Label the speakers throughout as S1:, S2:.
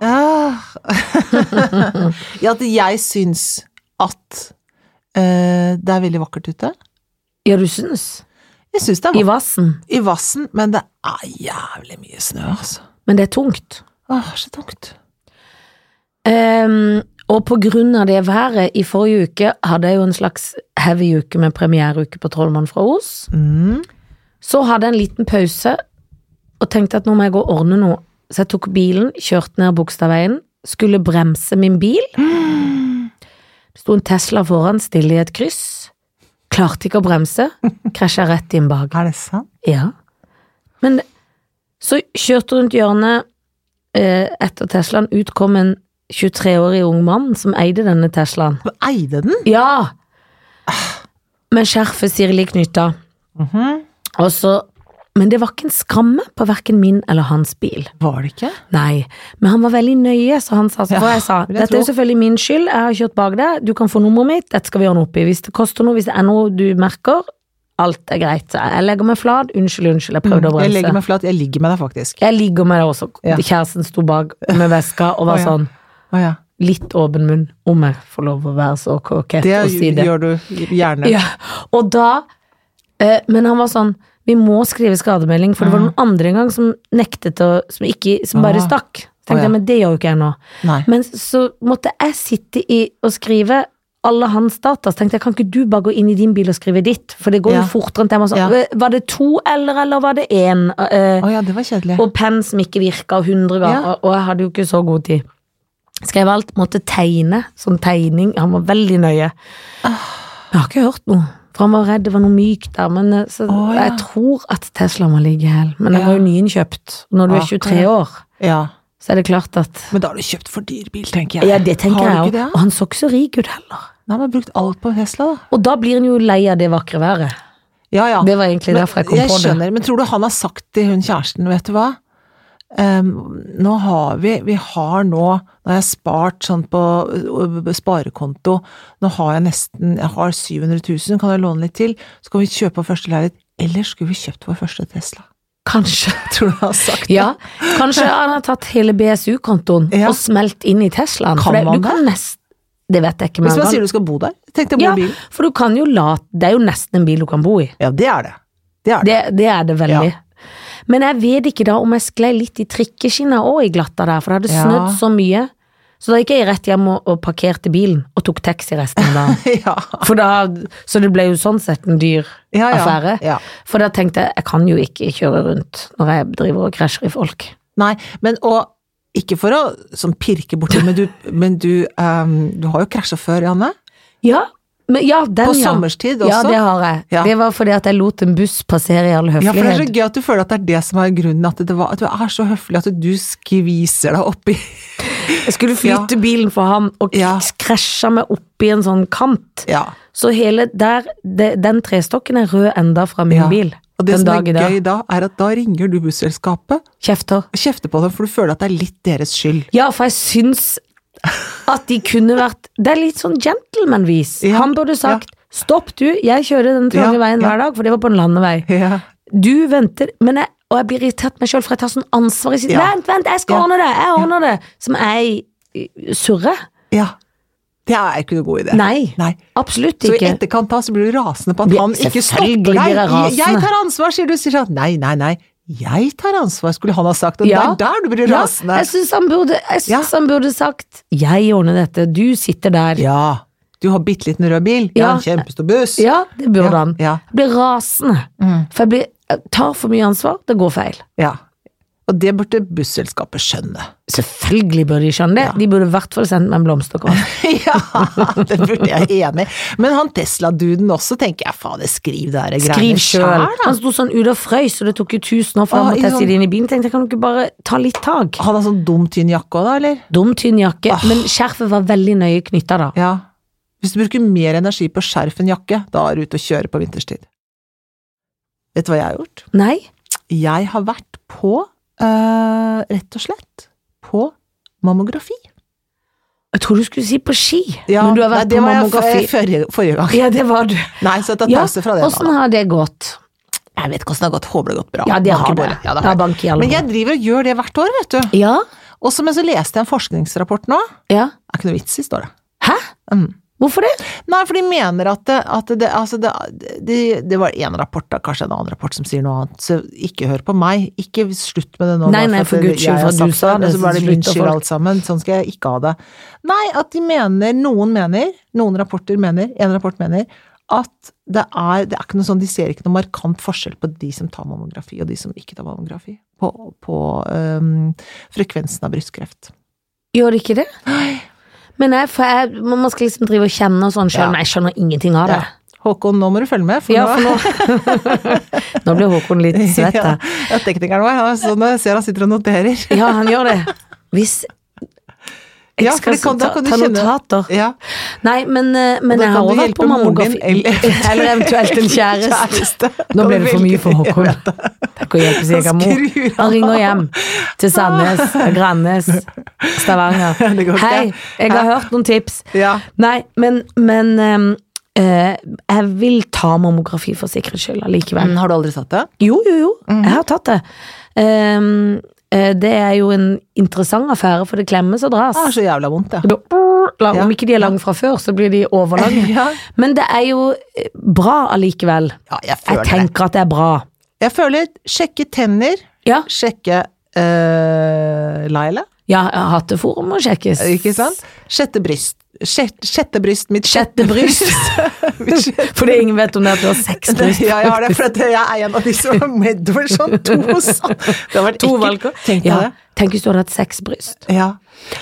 S1: Ah. ja, at jeg syns at eh, det er veldig vakkert ute.
S2: Ja, du syns?
S1: Jeg syns det er
S2: I
S1: vakkert
S2: vassen.
S1: i vassen, men det er jævlig mye snø, altså.
S2: Men det er tungt.
S1: Åh, så tungt.
S2: Ehm, og på grunn av det været i forrige uke hadde jeg jo en slags heavy uke med premiereuke på Trollmann fra Os.
S1: Mm.
S2: Så hadde jeg en liten pause og tenkte at nå må jeg gå og ordne noe. Så jeg tok bilen, kjørte ned Bogstadveien, skulle bremse min bil. Det sto en Tesla foran, stille i et kryss. Klarte ikke å bremse. Krasja rett inn bak.
S1: Er det sant?
S2: Ja. Men så kjørte rundt hjørnet eh, etter Teslaen, ut kom en 23-årig ung mann som eide denne Teslaen.
S1: Du eide den?
S2: Ja! Med skjerfet sirlig knytta.
S1: Mhm.
S2: Og så Men det var ikke en skramme på verken min eller hans bil.
S1: Var det ikke?
S2: Nei, men han var veldig nøye, så han sa så
S1: Ja,
S2: for jeg sa,
S1: vil jeg
S2: dette er
S1: tro.
S2: selvfølgelig min skyld, jeg har kjørt bak deg, du kan få nummeret mitt, dette skal vi ordne opp i. Hvis det koster noe, hvis det er noe du merker, alt er greit. Så jeg legger meg flat, unnskyld, unnskyld, jeg prøvde å
S1: Mm, Jeg legger
S2: bremse.
S1: meg flat. Jeg ligger med deg, faktisk.
S2: Jeg ligger med deg også,
S1: Ja.
S2: kjæresten sto bak med veska og var
S1: Å, ja.
S2: sånn,
S1: Å ja.
S2: litt åpen munn, om jeg får lov å være så kokett
S1: Det,
S2: og si det.
S1: gjør du gjerne.
S2: Ja, og da eh, Men han var sånn Vi må skrive skademelding, for det var noen andre en gang som nektet å Som, ikke, som bare
S1: Ah.
S2: stakk. Så
S1: Å,
S2: tenkte
S1: ja.
S2: jeg, men det gjør jo ikke jeg nå.
S1: Nei.
S2: Men så måtte jeg sitte i og skrive alle hans data. Så tenkte jeg, kan ikke du bare gå inn i din bil og skrive ditt? For det går
S1: Ja.
S2: jo fortere enn jeg må sånn.
S1: Ja.
S2: Var det to eller, eller var det én? Eh,
S1: Å ja, det var kjedelig.
S2: og penn som ikke virka hundre ganger, og jeg hadde jo ikke så god tid. Skrev alt, måtte tegne, sånn tegning, han var veldig nøye. Jeg har ikke hørt noe, for han var redd det var noe mykt der, men eh, så,
S1: Å, ja.
S2: jeg tror at Tesla må ligge i hæl. Men den
S1: Ja.
S2: var jo nyinnkjøpt, og når du er 23 år,
S1: Ja.
S2: så er det klart at
S1: Men da har du kjøpt for dyr bil, tenker jeg.
S2: Ja, det tenker
S1: har du
S2: jeg
S1: ikke
S2: òg.
S1: det?
S2: Og han så ikke så rik ut heller.
S1: Nei, men brukt alt på Tesla, da.
S2: Og da blir han jo lei av det vakre været.
S1: Ja, ja.
S2: Det var egentlig derfor jeg kom på det.
S1: skjønner, men tror du han har sagt til hun kjæresten, vet du hva? Ehm, nå har vi Vi har nå Nå har jeg spart sånn på ø, ø, sparekonto. Nå har jeg nesten Jeg har 700 000, kan jeg låne litt til? Så kan vi kjøpe vår første leilighet. Ellers skulle vi kjøpt vår første Tesla.
S2: Kanskje.
S1: Tror du han har sagt det?
S2: Ja, kanskje han har tatt hele BSU-kontoen
S1: Ja.
S2: og smelt inn i Teslaen.
S1: Kan
S2: for det,
S1: man
S2: du kan nest, det vet jeg ikke, men
S1: Hvis
S2: han
S1: man
S2: kan-
S1: sier du skal bo der, tenk deg å bo
S2: ja,
S1: i bilen.
S2: for du kan jo la Det er jo nesten en bil du kan bo i.
S1: Ja, det er det. Det er det.
S2: Det, det er det veldig. Men jeg vet ikke da om jeg sklei litt i trikkeskinna òg i glatta der, for det hadde
S1: Ja.
S2: snødd så mye. Så da gikk jeg rett hjem og, og parkerte bilen, og tok taxi resten av dagen.
S1: Ja,
S2: For da, så det ble jo sånn sett en dyr
S1: ja, ja.
S2: affære.
S1: Ja.
S2: For da tenkte jeg jeg kan jo ikke kjøre rundt når jeg driver og krasjer i folk.
S1: Nei, men og ikke for å sånn pirke borti, men du, men du, ehm, du har jo krasja før, Janne?
S2: Ja, men, ja den,
S1: På
S2: ja.
S1: sommerstid også?
S2: Ja, det har jeg.
S1: Ja.
S2: Det var fordi at jeg lot en buss passere i all
S1: Ja, for det er
S2: høflighet.
S1: så gøy at du føler at det er det som er grunnen, at, det var, at du er så høflig at du skviser deg oppi
S2: jeg skulle flytte bilen for han og
S1: Ja.
S2: k- krasja meg opp i en sånn kant.
S1: Ja.
S2: Så hele der, det, den trestokken er rød enda fra min
S1: Ja.
S2: bil.
S1: Og det som
S2: den dag i
S1: er
S2: dag.
S1: gøy da, er at da ringer du busselskapet
S2: Kjefter.
S1: og kjefter på dem, for du føler at det er litt deres skyld.
S2: Ja, for jeg syns at de kunne vært Det er litt sånn gentleman-vis.
S1: Ja,
S2: Han burde sagt 'stopp du, jeg kjører den trange
S1: Ja,
S2: veien
S1: ja.
S2: hver dag', for det var på en landevei.
S1: Ja.
S2: du venter men jeg, Og jeg blir irritert meg sjøl, for jeg tar sånn ansvar i sitt
S1: Ja.
S2: Vent, vent, jeg skal
S1: Ja.
S2: ordne det! Jeg ordner det! Som jeg eh, surrer.
S1: ja. Det er ikke noen god idé.
S2: Nei,
S1: Nei.
S2: absolutt
S1: Så i
S2: ikke.
S1: etterkant da, så blir du rasende på at
S2: Ja,
S1: han ikke
S2: selvfølgelig
S1: stopper
S2: blir jeg
S1: deg.
S2: rasende.
S1: Jeg tar ansvar, sier du. Sier sånn, nei, nei, nei. Jeg tar ansvar, skulle han ha sagt. Og
S2: Ja.
S1: det er der du blir
S2: Ja,
S1: rasende.
S2: jeg syns han, burde- jeg
S1: Ja.
S2: synes han burde sagt 'jeg ordner dette, du sitter der'. Ja,
S1: Ja. Du har bitte liten rød bil. Ja,
S2: Ja.
S1: en kjempestor buss.
S2: det
S1: Ja,
S2: burde han.
S1: ja. Mm.
S2: Jeg blir rasende. For jeg, blir, jeg tar for mye ansvar, det går feil.
S1: Ja. Og det burde busselskapet skjønne.
S2: Selvfølgelig burde de skjønne det. De burde i hvert fall sendt meg en blomsterkvast.
S1: ja, det burde jeg er enig i. Men han Tesla-duden også, tenker jeg, fader, skriv det her
S2: Skriv
S1: greiene
S2: sjøl.
S1: selv, da.
S2: Han sto sånn ute og frøys, og det tok jo tusen år før
S1: Å,
S2: han måtte
S1: i sånn-
S2: teste det inn i bilen. Tenkte jeg, kan du ikke bare ta litt tak?
S1: Han har sånn dum, tynn jakke òg, da, eller?
S2: Dum, tynn jakke, men skjerfet var veldig nøye knytta da.
S1: Ah. Ja. Hvis du bruker mer energi på skjerf enn jakke, da er du ute og kjører på vinterstid. Vet du hva jeg har gjort?
S2: Nei?
S1: Jeg har vært på, eh, rett og slett, på mammografi.
S2: Jeg tror du skulle si på ski, men du har vært
S1: nei, det
S2: på
S1: var jeg
S2: mammografi.
S1: f- eh, Forrige, forrige gang.
S2: Ja, det var du.
S1: Nei, så jeg tar
S2: Ja,
S1: pause fra det.
S2: Åssen
S1: da.
S2: har det gått?
S1: Jeg vet ikke åssen det har gått. Håper det har gått bra.
S2: Ja, det har ikke
S1: bare-
S2: det.
S1: Ja, det
S2: Ja,
S1: har.
S2: bank i alle
S1: Men jeg driver og gjør det hvert år, vet du.
S2: Ja,
S1: Og så, men så leste jeg en forskningsrapport nå. Det
S2: Ja.
S1: er ikke noe vits i, står det.
S2: Hæ?
S1: Mm.
S2: Hvorfor det?
S1: Nei, for de mener at det, at det, altså det, det, det var én rapport, da, kanskje en annen rapport som sier noe annet, så ikke hør på meg. Ikke slutt med det nå.
S2: Nei,
S1: bare
S2: nei,
S1: for at
S2: for
S1: det-
S2: Guds skyld,
S1: jeg har
S2: for du
S1: sagt
S2: sa det,
S1: Og så var det
S2: så
S1: min
S2: slutt å
S1: skyld
S2: folk-
S1: alt sammen. Sånn skal jeg ikke ha det. Nei, at de mener, noen mener, noen rapporter mener, en rapport mener, at det er, det er ikke noe sånn, de ser ikke noe markant forskjell på de som tar mammografi og de som ikke tar mammografi, på, på øhm, frekvensen av brystkreft.
S2: Gjør det ikke det? Men nei, for jeg, man skal liksom drive og kjenne og sånn sjøl,
S1: Ja.
S2: men jeg skjønner ingenting av det.
S1: Ja. Håkon, nå må du følge med, for
S2: Ja,
S1: nå
S2: for nå Nå ble Håkon litt svett
S1: Ja,
S2: her.
S1: ja, teknikeren vår. Han er sånn, jeg ser han sitter og noterer.
S2: Ja, han gjør det. Hvis jeg
S1: Ja, for
S2: skal
S1: det kan- da
S2: ta,
S1: kan du
S2: ta
S1: kjenne-
S2: notater.
S1: Ja.
S2: Nei, men, eh, men
S1: Da kan
S2: jeg har
S1: du
S2: også vært
S1: hjelpe
S2: på
S1: moren
S2: mammografi.
S1: din, eller-
S2: Eller eventuelt en kjæreste.
S1: Kjæreste.
S2: Nå
S1: Kan du
S2: ble det for mye for
S1: velge?
S2: Håkon. Takk å hjelpe seg av mor.
S1: Skrur Ah.
S2: Han ringer hjem til Sandnes, Grannes, Stavanger.
S1: Det går ikke.
S2: Hei, jeg har hørt noen tips.
S1: Ja.
S2: Nei, men, men ehm, eh, jeg vil ta mammografi for sikkerhets skyld allikevel.
S1: Har du aldri tatt det?
S2: Jo, jo, jo,
S1: Mm.
S2: jeg har tatt det. Ehm, eh, det er jo en interessant affære, for det klemmes og dras.
S1: Det er så jævla vondt, ja.
S2: Da- lang,
S1: Ah, Ja.
S2: Om ikke de er lange fra før, så blir de overlange.
S1: Ja,
S2: Men det er jo eh, bra allikevel.
S1: ja jeg
S2: Jeg
S1: føler det.
S2: tenker at det er bra.
S1: Jeg føler sjekke tenner,
S2: Ja,
S1: sjekke uh, Laila,
S2: ja hatteforum må sjekkes.
S1: ikke sant? Sjette bryst. Sjette, sjette bryst, mitt
S2: Sjette bryst.
S1: Mitt sjette-
S2: Fordi ingen vet om det er at du har seks bryst.
S1: Ja, jeg har det, for at jeg er en av de som er meddover sånn to sånn. Det har vært
S2: To
S1: ekkelt.
S2: valgkort.
S1: Tenk deg
S2: Ja, tenk hvis du hadde hatt seks bryst.
S1: det. Ja.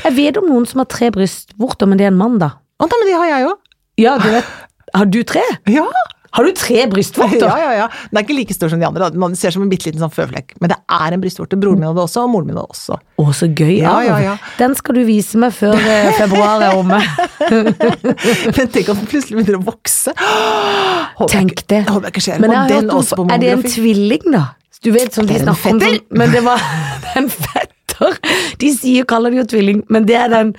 S2: Jeg vet om noen som har tre bryst. Hvortom, men det er en mann, da.
S1: Å, nei, men de har jeg jo.
S2: Ja, du vet. Har du tre?
S1: Ja.
S2: Har du tre brystvorter?
S1: Ja, ja, ja. Den er ikke like stor som de andre. da. Man ser som en bitte liten sånn føflekk. Men det er en brystvorte. Broren min hadde også, og moren min hadde også.
S2: Å, så gøy.
S1: Ja,
S2: arv.
S1: ja, ja.
S2: Den skal du vise meg før eh, februar er omme.
S1: Men tenk at den plutselig begynner å vokse. Håper jeg
S2: Tenk
S1: ikke-
S2: det.
S1: Håper jeg ikke skjer.
S2: Men jeg
S1: Og
S2: har
S1: den
S2: hørt om-
S1: også på
S2: Er det en
S1: mammografi.
S2: tvilling, da? Du vet sånn
S1: Det
S2: de
S1: er en
S2: snakker om
S1: fetter.
S2: sånn, Men det var det er en fetter. De sier kaller det jo tvilling, men det er den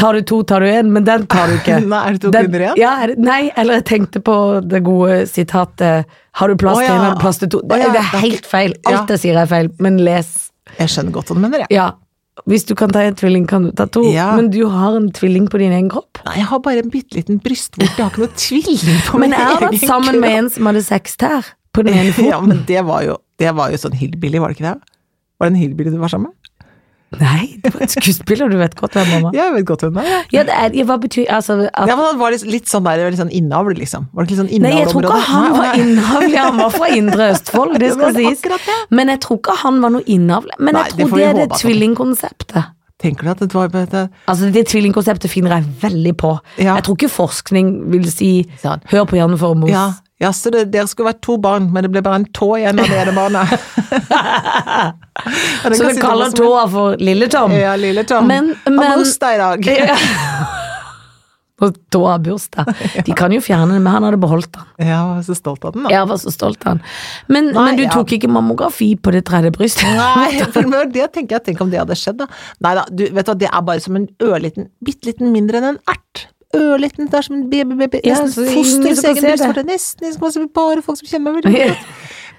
S2: Tar du to, tar du én, men den tar du ikke.
S1: Nei, er det to
S2: Den-
S1: kvinner igjen?
S2: Ja, er det, nei, eller jeg tenkte på det gode sitatet eh, Har du plass
S1: Å,
S2: til én,
S1: ja.
S2: har du plass til to? Det,
S1: Å, ja.
S2: det er helt feil. Alt jeg sier er feil, men les.
S1: Jeg skjønner godt hva du mener, jeg.
S2: Ja. Hvis du kan ta en tvilling, kan du ta to.
S1: Ja.
S2: Men du har en tvilling på din egen kropp.
S1: Nei, jeg har bare en bitte liten brystvorte. Jeg har ikke noe tvilling på
S2: Men
S1: min
S2: jeg har vært
S1: egen
S2: sammen
S1: kropp.
S2: med en som hadde seks tær på den ene foten.
S1: Ja, men det var jo, det var jo sånn hillbilly, var det ikke det? Var det en hillbilly du var sammen med?
S2: Nei, det var en skuespiller, du vet godt hvem mamma
S1: Ja, jeg vet godt hvem det er. jeg.
S2: Ja, det er, ja, hva betyr altså, at,
S1: Ja, men han var litt, litt sånn der, litt sånn innavl, liksom. Var det ikke litt sånn
S2: Nei, jeg tror ikke
S1: innavlområde?
S2: han
S1: Nei,
S2: var
S1: nei.
S2: innavlig, han var fra Indre Østfold, det
S1: Det var
S2: skal sies.
S1: akkurat det.
S2: Men jeg tror ikke han var noe innavlig. Men
S1: Nei,
S2: jeg
S1: det
S2: tror
S1: får
S2: det
S1: vi
S2: er det
S1: håpe at han-
S2: tvillingkonseptet.
S1: Tenker du at det var det,
S2: Altså Det tvillingkonseptet finner jeg veldig på.
S1: Ja.
S2: Jeg tror ikke forskning vil si
S1: Sant.
S2: hør på Janne Formos.
S1: Ja, ja så det, dere skulle vært to barn, men det ble bare en tå igjen av det ene barnet. Ja, den
S2: Så
S1: kan
S2: vi
S1: sitte
S2: kaller
S1: hva som
S2: tåa for Lille-Tom.
S1: helst. Ja, lille Tom.
S2: Men-
S1: Han
S2: men-
S1: har bursdag i dag.
S2: Ja. Og tåa har bursdag. De kan jo fjerne den, men han hadde beholdt den.
S1: Ja, jeg var så stolt av den, da.
S2: Jeg var så stolt av han. Men,
S1: Nei,
S2: men du
S1: ja.
S2: tok ikke mammografi på det tredje brystet?
S1: Nei, for det var det jeg tenker jeg, tenk om det hadde skjedd, da. Nei da, du vet du hva, det er bare som en ørliten, bitte liten mindre enn en ert. Ørliten, det er som en baby, baby,
S2: Ja,
S1: nesten
S2: så ingen
S1: foster i egen
S2: som kan se det.
S1: brystvorte. Nesten, nesten, nesten, bare folk som kjenner meg veldig godt.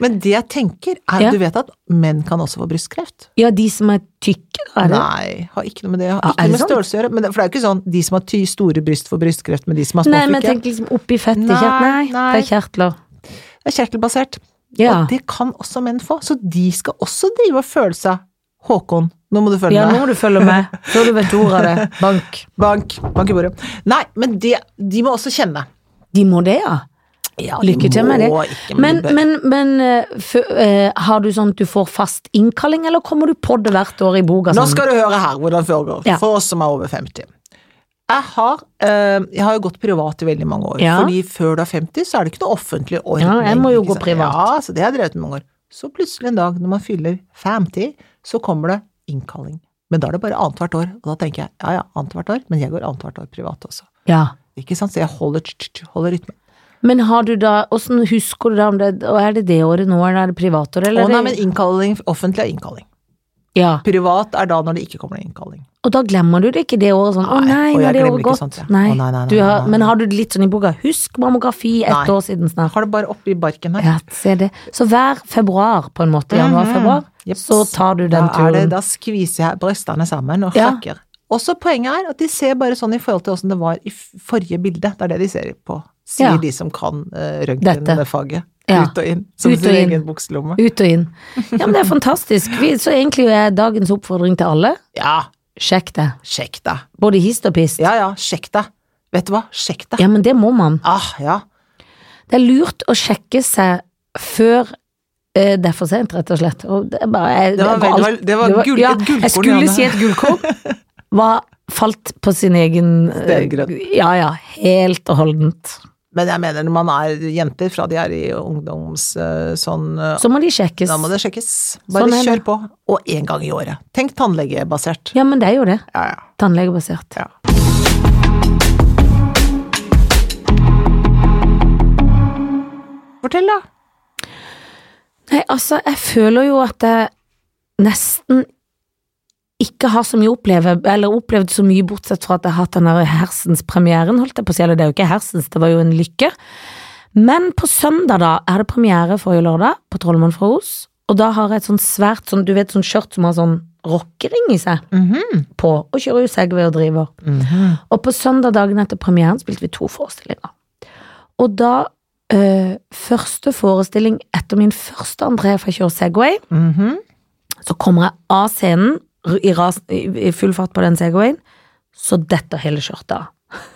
S1: Men det jeg tenker, er
S2: Ja.
S1: du vet at menn kan også få brystkreft.
S2: Ja, de som er tykke, da, er det?
S1: Nei, har ikke noe med det har
S2: Ah,
S1: Ikke
S2: er
S1: noe
S2: det
S1: med
S2: sant?
S1: størrelse å gjøre. Men det, for det er jo ikke sånn de som har ty store bryst for brystkreft, men de som har
S2: Nei, men
S1: småfykke.
S2: jeg tenker liksom oppi fettet.
S1: Nei,
S2: kjert- Nei,
S1: nei.
S2: det er kjertler.
S1: Det er kjertelbasert.
S2: Ja.
S1: Og det kan også menn få. Så de skal også drive og føle seg Håkon, nå må du følge
S2: Ja, nå
S1: meg.
S2: må du følge med, før du vet ordet av det. Bank.
S1: Bank. Bank i bordet. Nei, men det, de må også kjenne.
S2: De må det, ja.
S1: Ja, de
S2: Lykke til
S1: må
S2: med det.
S1: Ikke, men, de
S2: Men,
S1: bør.
S2: men, men eh, fø- eh, har du sånn at du får fast innkalling, eller kommer du på det hvert år i boka?
S1: Nå
S2: sånn?
S1: skal du høre her hvordan det foregår,
S2: Ja.
S1: for oss som er over 50. Jeg har, eh, jeg har jo gått privat i veldig mange år,
S2: Ja.
S1: fordi før du er 50 så er det ikke noe offentlig ordning.
S2: Ja, jeg må jo
S1: ikke
S2: gå
S1: sant?
S2: privat.
S1: Ja, så det har jeg drevet med mange år. Så plutselig en dag når man fyller 50, så kommer det innkalling. Men da er det bare annethvert år, og da tenker jeg ja ja, annethvert år, men jeg går annethvert år privat også.
S2: Ja.
S1: Ikke sant? Så jeg holder, tsk, tsk, tsk, holder rytmen.
S2: Men har du da, åssen husker du da om det, og er det det året nå, eller er det
S1: Å
S2: privatåret, eller
S1: nei,
S2: er
S1: men
S2: det
S1: innkalling, offentlig er innkalling.
S2: Ja.
S1: Privat er da når det ikke kommer noen innkalling.
S2: Og da glemmer du det ikke det året sånn. Å
S1: Nei,
S2: nei,
S1: og
S2: nå
S1: jeg
S2: er det
S1: glemmer
S2: året
S1: ikke
S2: gått.
S1: sånt, ja.
S2: Nei.
S1: Å, nei, nei, nei,
S2: Du har,
S1: nei, nei.
S2: men har du det litt sånn i boka? Husk mammografi ett
S1: Nei.
S2: år siden snart.
S1: Har det bare oppi barken her.
S2: Ja, se det. Så hver februar, på en måte, januar-februar,
S1: Jeps.
S2: så tar du den
S1: Mhm. da, er det,
S2: turen.
S1: da skviser jeg brystene sammen og
S2: Ja.
S1: flakker. Også poenget er at de ser bare sånn i forhold til åssen det var i f- forrige bilde. Det er det de ser på, sier
S2: Ja.
S1: de som kan uh,
S2: Dette.
S1: røntgenfaget.
S2: Ja.
S1: Ut og inn, som
S2: Ut og
S1: sin
S2: inn.
S1: egen bukselomme.
S2: Ut og inn. Ja, men det er fantastisk. Vi, så egentlig er dagens oppfordring til alle,
S1: Ja,
S2: sjekk det.
S1: sjekk deg.
S2: Både hist og pist.
S1: Ja ja, sjekk deg. Vet du hva, sjekk deg.
S2: Ja, men det må man.
S1: Ah, ja.
S2: Det er lurt å sjekke seg før eh, det er for sent, rett og slett. Og det, er bare, jeg,
S1: Det var,
S2: jeg går
S1: vel-
S2: alt-
S1: det var, det var gull,
S2: ja,
S1: et gullkorn.
S2: Jeg skulle si et gullkorn. Var falt på sin egen eh,
S1: Stengrøt.
S2: Ja, ja. Helt og holdent.
S1: Men jeg mener, når man er jenter fra de er i ungdoms eh, sånn eh,
S2: Så må de sjekkes.
S1: Da må det sjekkes. Bare
S2: Sånn er
S1: kjør på. Og én gang i året. Tenk tannlegebasert.
S2: Ja, men det er jo det.
S1: Ja, ja.
S2: Tannlegebasert.
S1: Ja. Fortell, da.
S2: Nei, altså, jeg føler jo at jeg nesten ikke har så mye å oppleve, eller opplevd så mye, bortsett fra at jeg har hatt den der Hersens-premieren, holdt jeg på å si, eller det er jo ikke Hersens, det var jo en lykke. Men på søndag, da, er det premiere forrige lørdag på Trollmann fra Os, og da har jeg et sånn svært sånn, du vet, sånn skjørt som har sånn rockering i seg på, og kjører jo Segway og driver.
S1: Mhm.
S2: Og på søndag dagen etter premieren spilte vi to forestillinger. Og da, eh, første forestilling etter min første entré for å kjøre Segway,
S1: Mhm.
S2: så kommer jeg av scenen r- i, ras, i, i full fart på den Segwayen, så detter hele skjørtet av.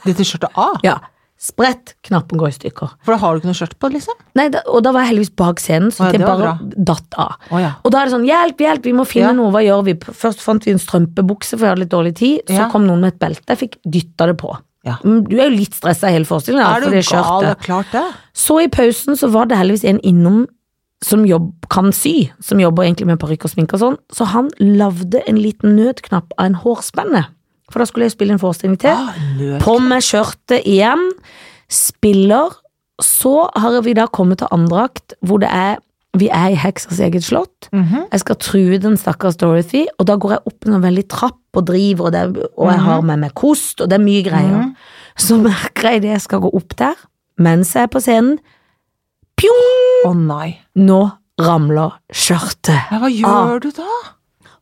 S1: Dette skjørtet av?
S2: Ja. Spredt, knappen går i stykker.
S1: For da har du ikke noe skjørt på, liksom?
S2: Nei, da, og da var jeg heldigvis bak scenen, så
S1: Å ja,
S2: det
S1: det var
S2: bare datt av.
S1: Å ja.
S2: Og da er det sånn, hjelp, hjelp, vi må finne
S1: Ja.
S2: noe, hva gjør vi? Først fant vi en strømpebukse, for jeg hadde litt dårlig tid, så
S1: Ja.
S2: kom noen med et belte, jeg fikk dytta det på.
S1: Ja.
S2: Mm, Du er jo litt stressa i hele forestillingen,
S1: er
S2: for
S1: du
S2: det
S1: gal? Det
S2: skjørtet.
S1: er klart det.
S2: Så i pausen så var det heldigvis en innom som jobb, kan sy, som jobber egentlig med parykk og sminke og sånn, så han lagde en liten nødknapp av en hårspenne. For da skulle jeg spille en forestilling til.
S1: Ah, nød.
S2: På med skjørtet igjen, spiller. Så har vi da kommet til andre akt, hvor det er vi er i heksas eget slott.
S1: Mhm.
S2: Jeg skal true den stakkars Dorothy, og da går jeg opp en veldig trapp og driver, og, det, er- og jeg har med meg kost, og det er mye greier.
S1: Mhm.
S2: Så merker jeg det jeg skal gå opp der, mens jeg er på scenen. Pjong!
S1: Å nei. Ah.
S2: Nå ramler skjørtet.
S1: Ja, hva gjør du da?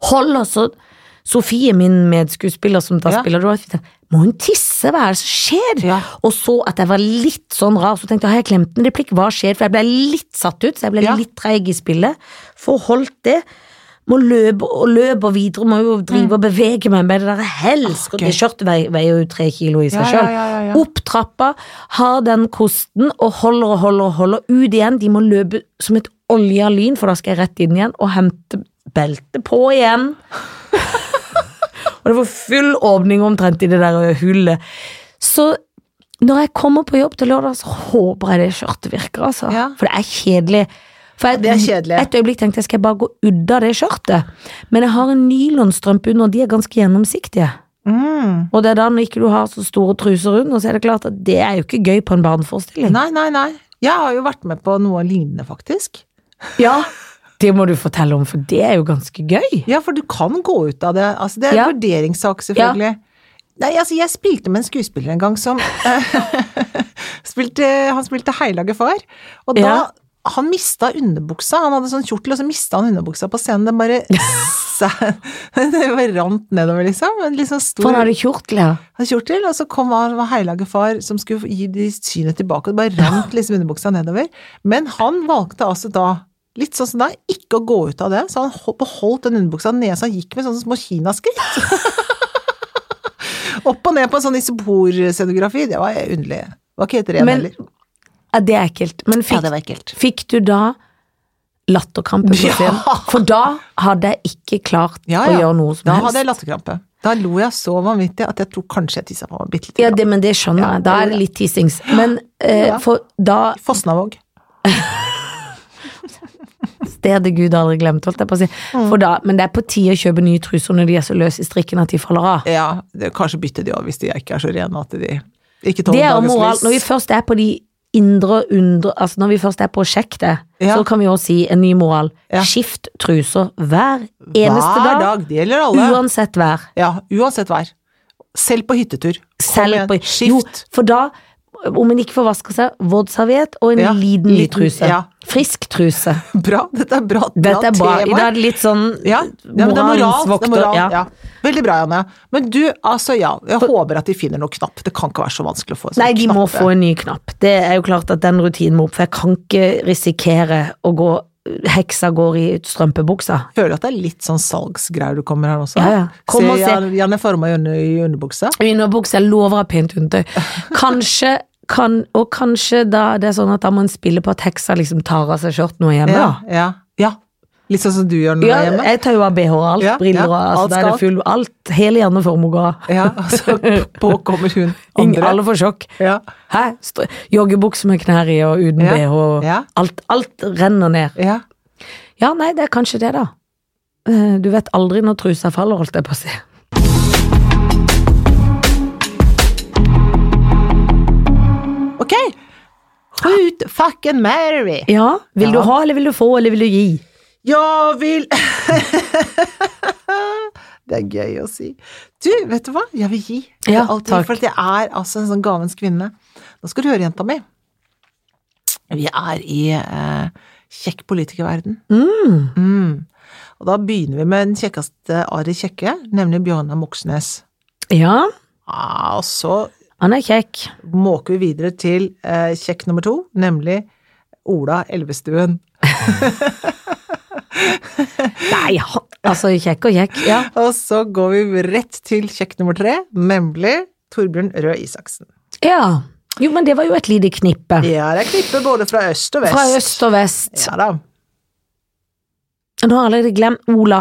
S2: Holder så Sofie, min medskuespiller som da
S1: Ja.
S2: spiller Dorothy, tenker, må hun tisse, hva er det som skjer?
S1: Ja.
S2: Og så at jeg var litt sånn rar, så tenkte jeg, har jeg klemt en replikk, hva skjer? For jeg ble litt satt ut, så jeg ble
S1: Ja.
S2: litt treig i spillet. Forholdt det. Må løpe og løpe og videre, må jo drive og bevege meg med det der
S1: Ah, Mm.
S2: helsker.
S1: gøy.
S2: Det skjørtet vei- veier jo tre kilo i seg
S1: Ja, ja,
S2: sjøl.
S1: ja, ja, ja.
S2: Opp trappa, har den kosten og holder og holder og holder. Ut igjen, de må løpe som et olja lyn, for da skal jeg rett inn igjen og hente beltet på igjen. og det var full åpning omtrent i det der hullet. Så når jeg kommer på jobb til lørdag, så håper jeg det skjørtet virker, altså.
S1: Ja.
S2: For det er kjedelig. For jeg,
S1: Det er kjedelig.
S2: Et øyeblikk tenkte jeg skal jeg bare gå ut av det skjørtet. Men jeg har en nylonstrømpe under, og de er ganske gjennomsiktige.
S1: Mm.
S2: Og det er da når ikke du har så store truser under, så er det klart at det er jo ikke gøy på en barneforestilling.
S1: Nei, nei, nei. Jeg har jo vært med på noe lignende, faktisk.
S2: Ja, det må du fortelle om, for det er jo ganske gøy.
S1: Ja, for du kan gå ut av det. Altså, det er en
S2: Ja.
S1: vurderingssak, selvfølgelig. Nei, altså, jeg spilte med en skuespiller en gang som spilte, Han spilte Heilaget far, og da
S2: Ja.
S1: Han mista underbuksa. Han hadde sånn kjortel, og så mista han underbuksa på scenen. Den bare sæ- Det bare rant nedover, liksom. En liksom stor
S2: For han hadde kjortel, ja.
S1: hadde kjortel, og så kom han, var heilaget far som skulle gi de synet tilbake, og det bare rant liksom underbuksa nedover. Men han valgte altså da, litt sånn som deg, ikke å gå ut av det, så han hol- beholdt den underbuksa nede, så han gikk med sånne små kinaskritt. Opp og ned på en sånn isoporscenografi, det var underlig. Det var ikke helt ren
S2: Men
S1: heller.
S2: ja. Det er ekkelt. Men
S1: Ja,
S2: fikk,
S1: det var ekkelt.
S2: fikk du da latterkrampe på
S1: Ja.
S2: scenen? For da hadde jeg ikke klart
S1: Ja,
S2: å
S1: ja.
S2: gjøre noe som
S1: Da
S2: helst.
S1: hadde jeg latterkrampe. Da lo jeg så vanvittig at jeg tror kanskje jeg tissa på meg bitte litt.
S2: Ja, det, men det skjønner
S1: Ja,
S2: jeg. Da er det litt tissings. Men eh,
S1: Ja.
S2: for da
S1: Fosnavåg.
S2: Stedet Gud aldri glemte, holdt jeg på å si.
S1: Mm.
S2: For da, men det er på tide å kjøpe nye truser når de er så løse i strikken at de faller av.
S1: Ja, det, kanskje bytte de òg, hvis de ikke er så rene at de ikke tåler
S2: Det er jo
S1: dagens
S2: moral.
S1: lys.
S2: Når vi først er på de indre og undre Altså når vi først er på å sjekke det,
S1: Ja.
S2: så kan vi jo si en ny moral.
S1: Ja.
S2: Skift truser hver eneste
S1: Hver
S2: dag,
S1: dag. Det gjelder alle.
S2: uansett vær.
S1: ja, uansett vær. Selv på hyttetur. Kom
S2: Selv
S1: igjen,
S2: på Jo,
S1: Skift.
S2: for da, om en ikke får vaska seg, våtserviett og en
S1: Ja,
S2: liten
S1: liten-
S2: truse.
S1: ja.
S2: Frisk truse.
S1: Bra. Dette er bra, bra
S2: Dette er bra. I
S1: tema.
S2: dag er det litt sånn
S1: Ja, ja, men det er moral. Det
S2: moralens
S1: er moral
S2: vokter,
S1: ja.
S2: ja.
S1: Veldig bra, Janne. Men du, altså ja. Jeg håper at de finner noe knapp. Det kan ikke være så vanskelig å få. sånn
S2: Nei, de må få en ny knapp. Det er jo klart at den rutinen må opp, for jeg kan ikke risikere å gå Heksa går i strømpebuksa.
S1: Føler du at det er litt sånn salgsgreier du kommer her også?
S2: Ja, ja. Kom og
S1: se.
S2: se.
S1: Jan- Janne Forma i under- i underbuksa.
S2: Underbukse, jeg lover jeg pent undertøy. Kanskje kan, Og kanskje da det er sånn at da må en spille på at heksa liksom tar av seg skjørten og er hjemme,
S1: Ja,
S2: da.
S1: ja, ja. Litt sånn som du gjør når du
S2: Ja,
S1: er hjemme.
S2: jeg tar jo av bh og alt,
S1: Ja,
S2: briller og
S1: ja,
S2: altså,
S1: alt
S2: da er det
S1: skal.
S2: full alt. Hele hjerneform og ga.
S1: Ja, og så påkommer hun
S2: Ingen-
S1: andre.
S2: Alle får sjokk.
S1: Ja.
S2: Hæ? Str- Joggebukse med knær i og uten
S1: Ja,
S2: bh. og
S1: ja.
S2: Alt, alt renner ned.
S1: Ja.
S2: Ja, nei, det er kanskje det, da. Eh, Du vet aldri når trusa faller, holdt jeg på å si.
S1: Ok! Hoot fucking Mary!
S2: Ja, Vil du
S1: Ja.
S2: ha, eller vil du få, eller vil du gi?
S1: Jeg vil Det er gøy å si. Du, vet du hva? Jeg vil gi. Jeg vil
S2: Ja,
S1: alltid gi,
S2: takk.
S1: For at jeg er altså en sånn gavens kvinne. Nå skal du høre, jenta mi. Vi er i eh, kjekk politikerverden. Mm. Og da begynner vi med den kjekkeste av de kjekke, nemlig Bjørnar Moxnes.
S2: Ja,
S1: Ah, og så
S2: han er kjekk.
S1: måker vi videre til eh, kjekk nummer to, nemlig Ola Elvestuen.
S2: Nei, han, altså kjekk og kjekk. Ja.
S1: Og så går vi rett til kjekk nummer tre, nemlig Torbjørn Røe Isaksen.
S2: ja. Jo, men det var jo et lite knippe.
S1: Ja, det er klippe både fra øst og vest.
S2: Fra øst og vest.
S1: Ja da.
S2: Nå har jeg allerede glemt Ola.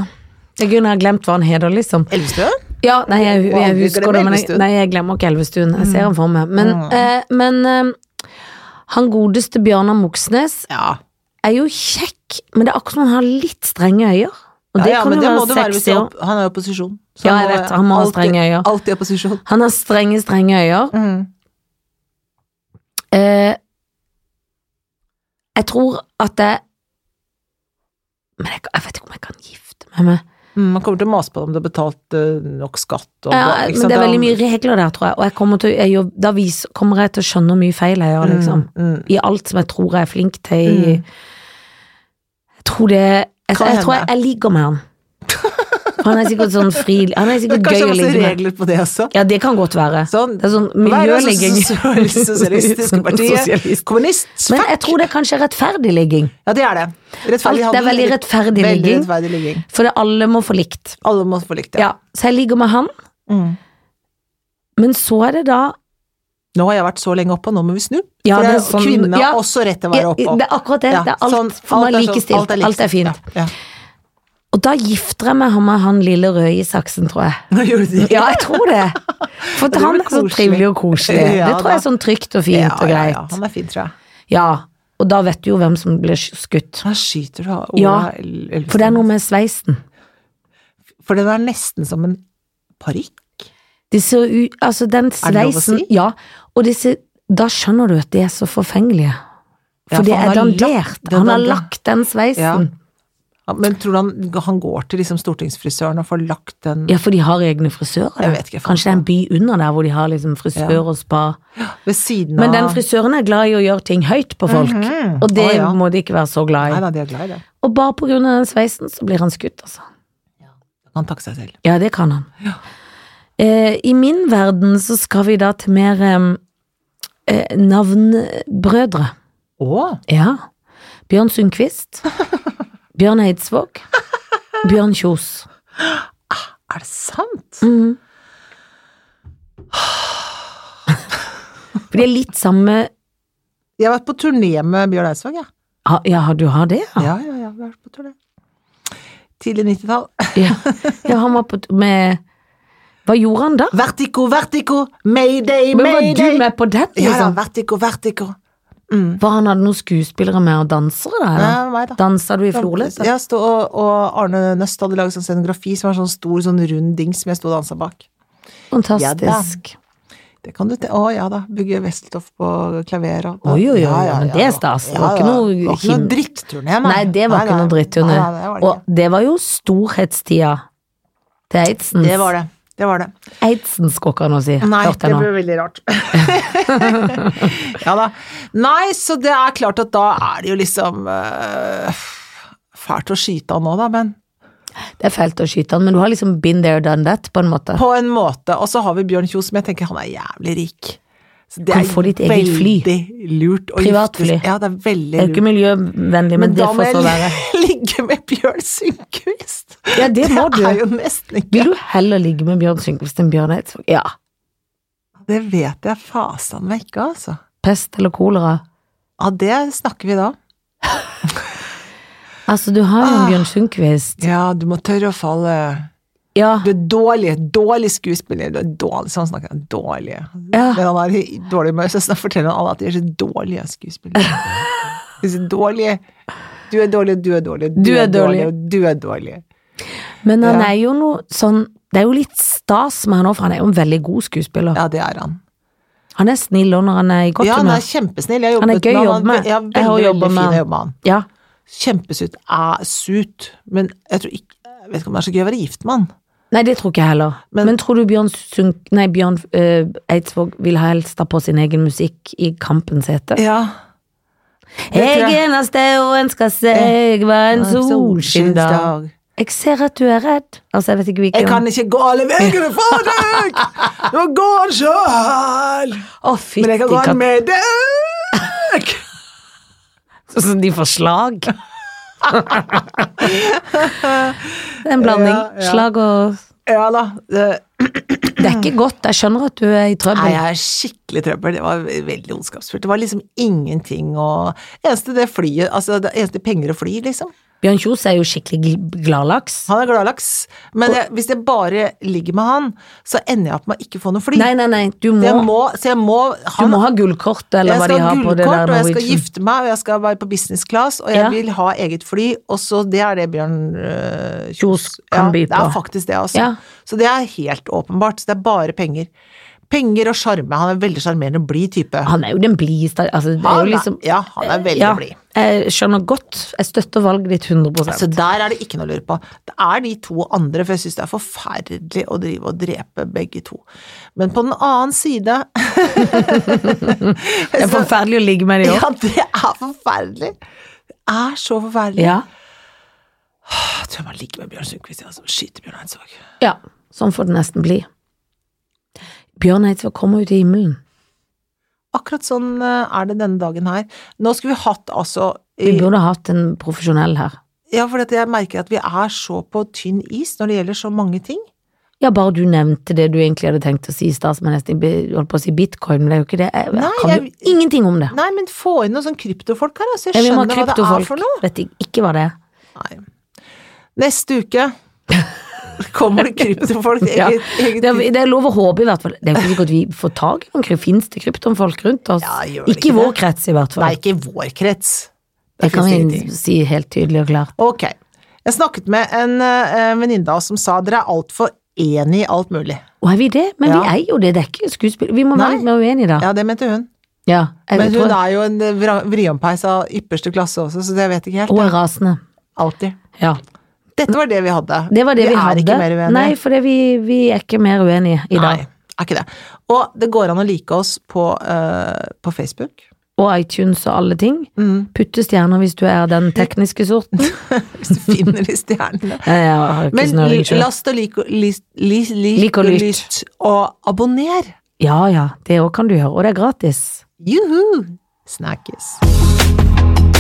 S2: Jeg kunne ha glemt hva han heter, liksom.
S1: Elvestuen?
S2: Ja, nei, jeg,
S1: Og
S2: jeg
S1: aldri glem
S2: husker det, men jeg,
S1: Elvestuen.
S2: nei, jeg glemmer ikke Elvestuen. Jeg ser han for meg. Men,
S1: Mm.
S2: eh, men eh, han godeste Bjørnar Moxnes
S1: Ja.
S2: er jo kjekk, men det er akkurat som han har litt strenge øyer. Og
S1: ja,
S2: det
S1: ja,
S2: kan
S1: men
S2: jo
S1: det må
S2: være
S1: det være hvis
S2: sexy
S1: du
S2: òg.
S1: opp, han er i opposisjon. Så
S2: Ja,
S1: han
S2: jeg
S1: må-
S2: vet, han må ha strenge øyne.
S1: Alltid i opposisjon.
S2: Han har strenge, strenge øyer.
S1: Mm.
S2: Eh, jeg tror at jeg Men jeg, kan- jeg vet ikke om jeg kan gifte meg med
S1: Mm, man kommer til å mase på deg om du har betalt eh, nok skatt. Og,
S2: ja,
S1: ikke
S2: Men
S1: sant?
S2: det er veldig mye regler der, tror jeg, og jeg kommer til, å- jeg, gjør- da vis, kommer jeg til å skjønne hvor mye feil jeg gjør, liksom.
S1: Mm, mm.
S2: I alt som jeg tror jeg er flink til. i-
S1: Mm.
S2: Jeg tror det Jeg,
S1: Kan
S2: jeg tror jeg, jeg ligger med han. Han er sikkert sånn fri Han
S1: Det
S2: er
S1: er
S2: sikkert gøy
S1: kanskje
S2: å
S1: masse
S2: ligge med.
S1: regler på det også.
S2: Ja, det kan godt være.
S1: Sånn,
S2: Det er sånn
S1: Hva er det
S2: miljøligging.
S1: sosial- Sosialistiske partiet.
S2: Sosialist.
S1: Kommunist.
S2: Men
S1: Fuck!
S2: jeg tror det er kanskje rettferdig ligging.
S1: Ja, det er det. Rettferdig
S2: Alt er
S1: handel.
S2: veldig rettferdig
S1: Veldig
S2: ligging.
S1: rettferdig ligging.
S2: For det alle må få likt.
S1: Alle må få likt, ja.
S2: Ja, så jeg ligger med han,
S1: Mm.
S2: men så er det da
S1: Nå har jeg vært så lenge oppe, nå må vi snu.
S2: Ja,
S1: For det
S2: det
S1: er
S2: er sånn-
S1: kvinne har
S2: ja.
S1: også rett til å
S2: ja,
S1: være oppe.
S2: Det er akkurat det.
S1: Ja,
S2: det er alt
S1: sånn,
S2: for
S1: alt
S2: meg
S1: er sånn-
S2: likestilt. Alt er, fint.
S1: Ja, ja.
S2: Og da gifter jeg meg han med han lille røde Isaksen, tror jeg.
S1: Nå gjorde de det.
S2: Ja, jeg tror det. For
S1: Det
S2: han
S1: blir
S2: er så
S1: koselig.
S2: trivelig og koselig.
S1: Ja,
S2: det tror jeg
S1: da.
S2: er sånn trygt og fint
S1: ja,
S2: og greit.
S1: ja.
S2: Ja,
S1: Han er fin, tror jeg.
S2: og da vet du jo hvem som blir skutt.
S1: Da skyter du av Ola
S2: Ja,
S1: El- Elvestuen.
S2: For det er noe med sveisen.
S1: For den er nesten som en parykk.
S2: De ser jo ut Altså, den
S1: det lov å
S2: sveisen
S1: si?
S2: Ja. Og disse Da skjønner du at de er så forfengelige.
S1: Ja,
S2: For det
S1: for han
S2: er
S1: har lagt
S2: dandert.
S1: den
S2: Han har
S1: dandert.
S2: lagt den sveisen.
S1: Ja, men tror du han, han går til liksom stortingsfrisøren og får lagt den
S2: Ja, for de har egne frisører.
S1: Jeg
S2: da.
S1: vet ikke, jeg
S2: Kanskje det er en by under der hvor de har liksom frisør og spa.
S1: ved siden av
S2: Men den frisøren er glad i å gjøre ting høyt på folk,
S1: Mhm.
S2: og det
S1: Å, ja.
S2: må de ikke være så glad
S1: Nei
S2: i.
S1: da, de er glad i det.
S2: Og bare på grunn av den sveisen så blir han skutt, altså.
S1: Han takker seg selv.
S2: Ja, det kan han. Eh, I min verden så skal vi da til mer eh, eh, navnbrødre.
S1: Å!
S2: Ja. Bjørn Sundquist. Bjørn Eidsvåg. Bjørn Kjos.
S1: Er det sant?
S2: Mhm. For det er litt samme
S1: Jeg har vært på turné med Bjørn Eidsvåg, jeg.
S2: Ha- Ja, har du har det?
S1: Ja. ja, ja, ja, vi har vært på turné. Tidlig 90-tall.
S2: Ja, ja han var på t- med Hva gjorde han da?
S1: Vertigo, vertigo, mayday,
S2: Men var
S1: mayday!
S2: du med på den?
S1: Ja da,
S2: Liksom?
S1: vertigo, vertigo.
S2: Var han hadde noen skuespillere med og dansere der?
S1: Ja,
S2: eller?
S1: meg da.
S2: Dansa du i florløs? da?
S1: Ja, stå, og, og Arne Nøst hadde laget sånn scenografi som var sånn stor, sånn rund dings som jeg sto og dansa bak.
S2: Fantastisk.
S1: Det kan du te Å ja da, bygge Wesseltoft på klaver og
S2: Oi, oi, oi, men det er stas. Det var ikke noe
S1: det var ikke
S2: him-
S1: noe dritturné,
S2: Nei, det var ikke noe dritturné.
S1: Nei, nei, det var det
S2: Og det var jo storhetstida til
S1: ikke.
S2: Eidsens.
S1: Det var det. Det var det.
S2: Eidsens, går ikke an å si.
S1: Nei,
S2: Hørte
S1: det
S2: jeg nå.
S1: blir veldig rart. ja da. Nei, så det er klart at da er det jo liksom eh, Fælt å skyte av nå, da, men
S2: Det er fælt å skyte han, men du har liksom been there, done that, på en måte.
S1: på en måte. Og så har vi Bjørn Kjos, men jeg tenker han er jævlig rik. Så det
S2: Kan få ditt eget fly.
S1: veldig lurt å
S2: Privatfly.
S1: gifte seg- Ja, det er veldig
S2: Det er jo ikke
S1: lurt.
S2: miljøvennlig, men, det
S1: da må
S2: får så være.
S1: jeg ligge med Bjørn Sundquist!
S2: Ja, det må du.
S1: er jo nesten ikke
S2: Vil du heller ligge med Bjørn Synkvist enn Bjørn Eidsvåg? Ja.
S1: Det vet jeg fasan meg ikke, altså.
S2: Pest eller kolera?
S1: Ja, det snakker vi da.
S2: Altså, du har jo en
S1: Ah.
S2: Bjørn Synkvist.
S1: Ja, du må tørre å falle.
S2: Ja.
S1: Du er dårlig, dårlig skuespiller. Du er dårlig, sånn snakker han. Dårlig.
S2: Ja.
S1: Men han er i dårlig humør, så snart forteller han alle at de er så dårlige skuespillere. De er så dårlige. Du er dårlig, og du er dårlig,
S2: Du er dårlig.
S1: og du er dårlig.
S2: Men han
S1: Ja.
S2: er jo noe sånn Det er jo litt stas med han òg, for han er jo en veldig god skuespiller.
S1: Ja, det er han.
S2: Han er snill òg når han er i godt
S1: Ja, han er
S2: humør.
S1: kjempesnill. Jeg har
S2: Han er
S1: jobbet
S2: gøy å
S1: med
S2: jobbe med.
S1: Ja,
S2: Jeg har
S1: veldig, veldig
S2: jobbet med
S1: fin å
S2: han.
S1: jobbe med han.
S2: Ja.
S1: Kjempesut. Er sut. Men jeg tror ikke jeg vet ikke om det er så gøy å være gift med han.
S2: Nei, det tror ikke jeg heller. Men,
S1: Men-
S2: tror du Bjørn, Sunk, nei, Bjørn eh, Eidsvåg vil helst ta på sin egen musikk i kampens hete?
S1: Ja. Det tror
S2: Jeg
S1: jeg.
S2: eneste og ønsker seg var en solskinnsdag. Jeg ser at du er redd. Altså, jeg vet ikke
S1: Jeg
S2: hvilken
S1: kan ikke gå alle veiene for deg! Du må gå den sjøl!
S2: Å, fytti
S1: Men jeg kan gå den
S2: katt.
S1: med deg!
S2: Sånn som de får slag. det er en blanding.
S1: Ja, ja.
S2: Slag og
S1: Ja da. det-
S2: Det er ikke godt. Jeg skjønner at du er i
S1: Nei,
S2: trøbbel.
S1: jeg er skikkelig trøbbel. Det var veldig ondskapsfullt. Det var liksom ingenting å Eneste det flyet Altså, det eneste penger og fly, liksom.
S2: Bjørn Kjos er jo skikkelig gl- gladlaks.
S1: Han er gladlaks. Men jeg, hvis jeg bare ligger med han, så ender jeg opp med å ikke få noe fly.
S2: Nei, nei, nei. Du
S1: Så jeg
S2: må,
S1: må, så jeg må
S2: du
S1: han,
S2: må ha gullkort, eller
S1: Jeg
S2: hva
S1: skal
S2: de
S1: ha
S2: har på det der
S1: gullkort, og jeg skal
S2: Norwegian.
S1: gifte meg, og jeg skal være på business class, og jeg
S2: Ja.
S1: vil ha eget fly, og så det er det Bjørn øh,
S2: Kjos kan by
S1: Det
S2: på.
S1: er faktisk det, altså.
S2: Ja.
S1: Så det er helt åpenbart. Så det er bare penger. Penger og sjarme. Han er veldig sjarmerende og blid type.
S2: Han er jo den blideste altså, Det er
S1: Han er-
S2: jo liksom
S1: ja, han er veldig
S2: Ja,
S1: blid.
S2: Jeg skjønner godt. Jeg støtter valget ditt 100
S1: Så der er det ikke noe å lure på. Det er de to andre, for jeg syns det er forferdelig å drive og drepe begge to. Men på den annen side
S2: Det er forferdelig å ligge med de òg.
S1: Ja, det er forferdelig! Det er så forferdelig. Ah,
S2: Ja.
S1: Jeg tror man ligger med Bjørn Sundquist, altså. Skyter Bjørn Eidsvåg.
S2: ja. Sånn får det nesten bli. Bjørn Eidsvåg kommer ut i himmelen.
S1: Akkurat sånn eh, er det denne dagen her. Nå skulle vi hatt altså
S2: Vi
S1: i-
S2: burde hatt en profesjonell her.
S1: Ja, for dette, jeg merker at vi er så på tynn is når det gjelder så mange ting.
S2: Ja, bare du nevnte det du egentlig hadde tenkt å si i stad, som jeg nesten be- holdt på å si bitcoin, men det er jo ikke det. Jeg,
S1: Nei,
S2: jeg kan jo
S1: jeg-
S2: ingenting om det.
S1: Nei, men få inn noen sånn kryptofolk her, altså.
S2: Jeg
S1: Jeg
S2: vil ha
S1: skjønner hva det er
S2: kryptofolk.
S1: for noe.
S2: Vet ik- ikke hva det er.
S1: Nei. Neste uke kommer det kryptofolk.
S2: Ja.
S1: Eget, eget
S2: Det er, det er lov å håpe, i hvert fall. Det er jo ikke sikkert vi får tak i noen krypto. Fins det kryptofolk rundt oss?
S1: Ja, gjør det
S2: ikke i
S1: ikke
S2: vår
S1: det?
S2: krets, i hvert fall.
S1: Nei, ikke i vår krets. Der
S2: det kan
S1: finnes det
S2: vi
S1: ingenting.
S2: si helt tydelig og klart.
S1: Ok. Jeg snakket med en eh, venninne av oss som sa dere er altfor enig i alt mulig.
S2: Og er vi det? Men vi
S1: Ja.
S2: er jo det, det er ikke skuespill. Vi må
S1: Nei.
S2: være litt mer uenige, da.
S1: Ja, det mente hun.
S2: Ja. jeg
S1: Men
S2: tror-
S1: hun er jo en eh, vra- vriompeis av ypperste klasse også, så det vet jeg ikke helt.
S2: Og er rasende.
S1: Alltid.
S2: Ja.
S1: Dette var det vi hadde.
S2: Det var det vi,
S1: er
S2: hadde.
S1: ikke mer uenige.
S2: Nei, for det, vi, vi er ikke mer uenige i dag.
S1: Nei, er ikke det. Og det går an å like oss på, eh, på Facebook.
S2: og iTunes og alle ting.
S1: Mm.
S2: Putte stjerner hvis du er den tekniske sorten.
S1: Hvis du finner de stjernene.
S2: Jeg har ikke
S1: Men
S2: snøring selv.
S1: last og lik og lyst, lyst,
S2: Lik og
S1: og
S2: lytt.
S1: lytt, og abonner!
S2: Ja ja, det òg kan du gjøre, og det er gratis.
S1: Juhu! Snakkes.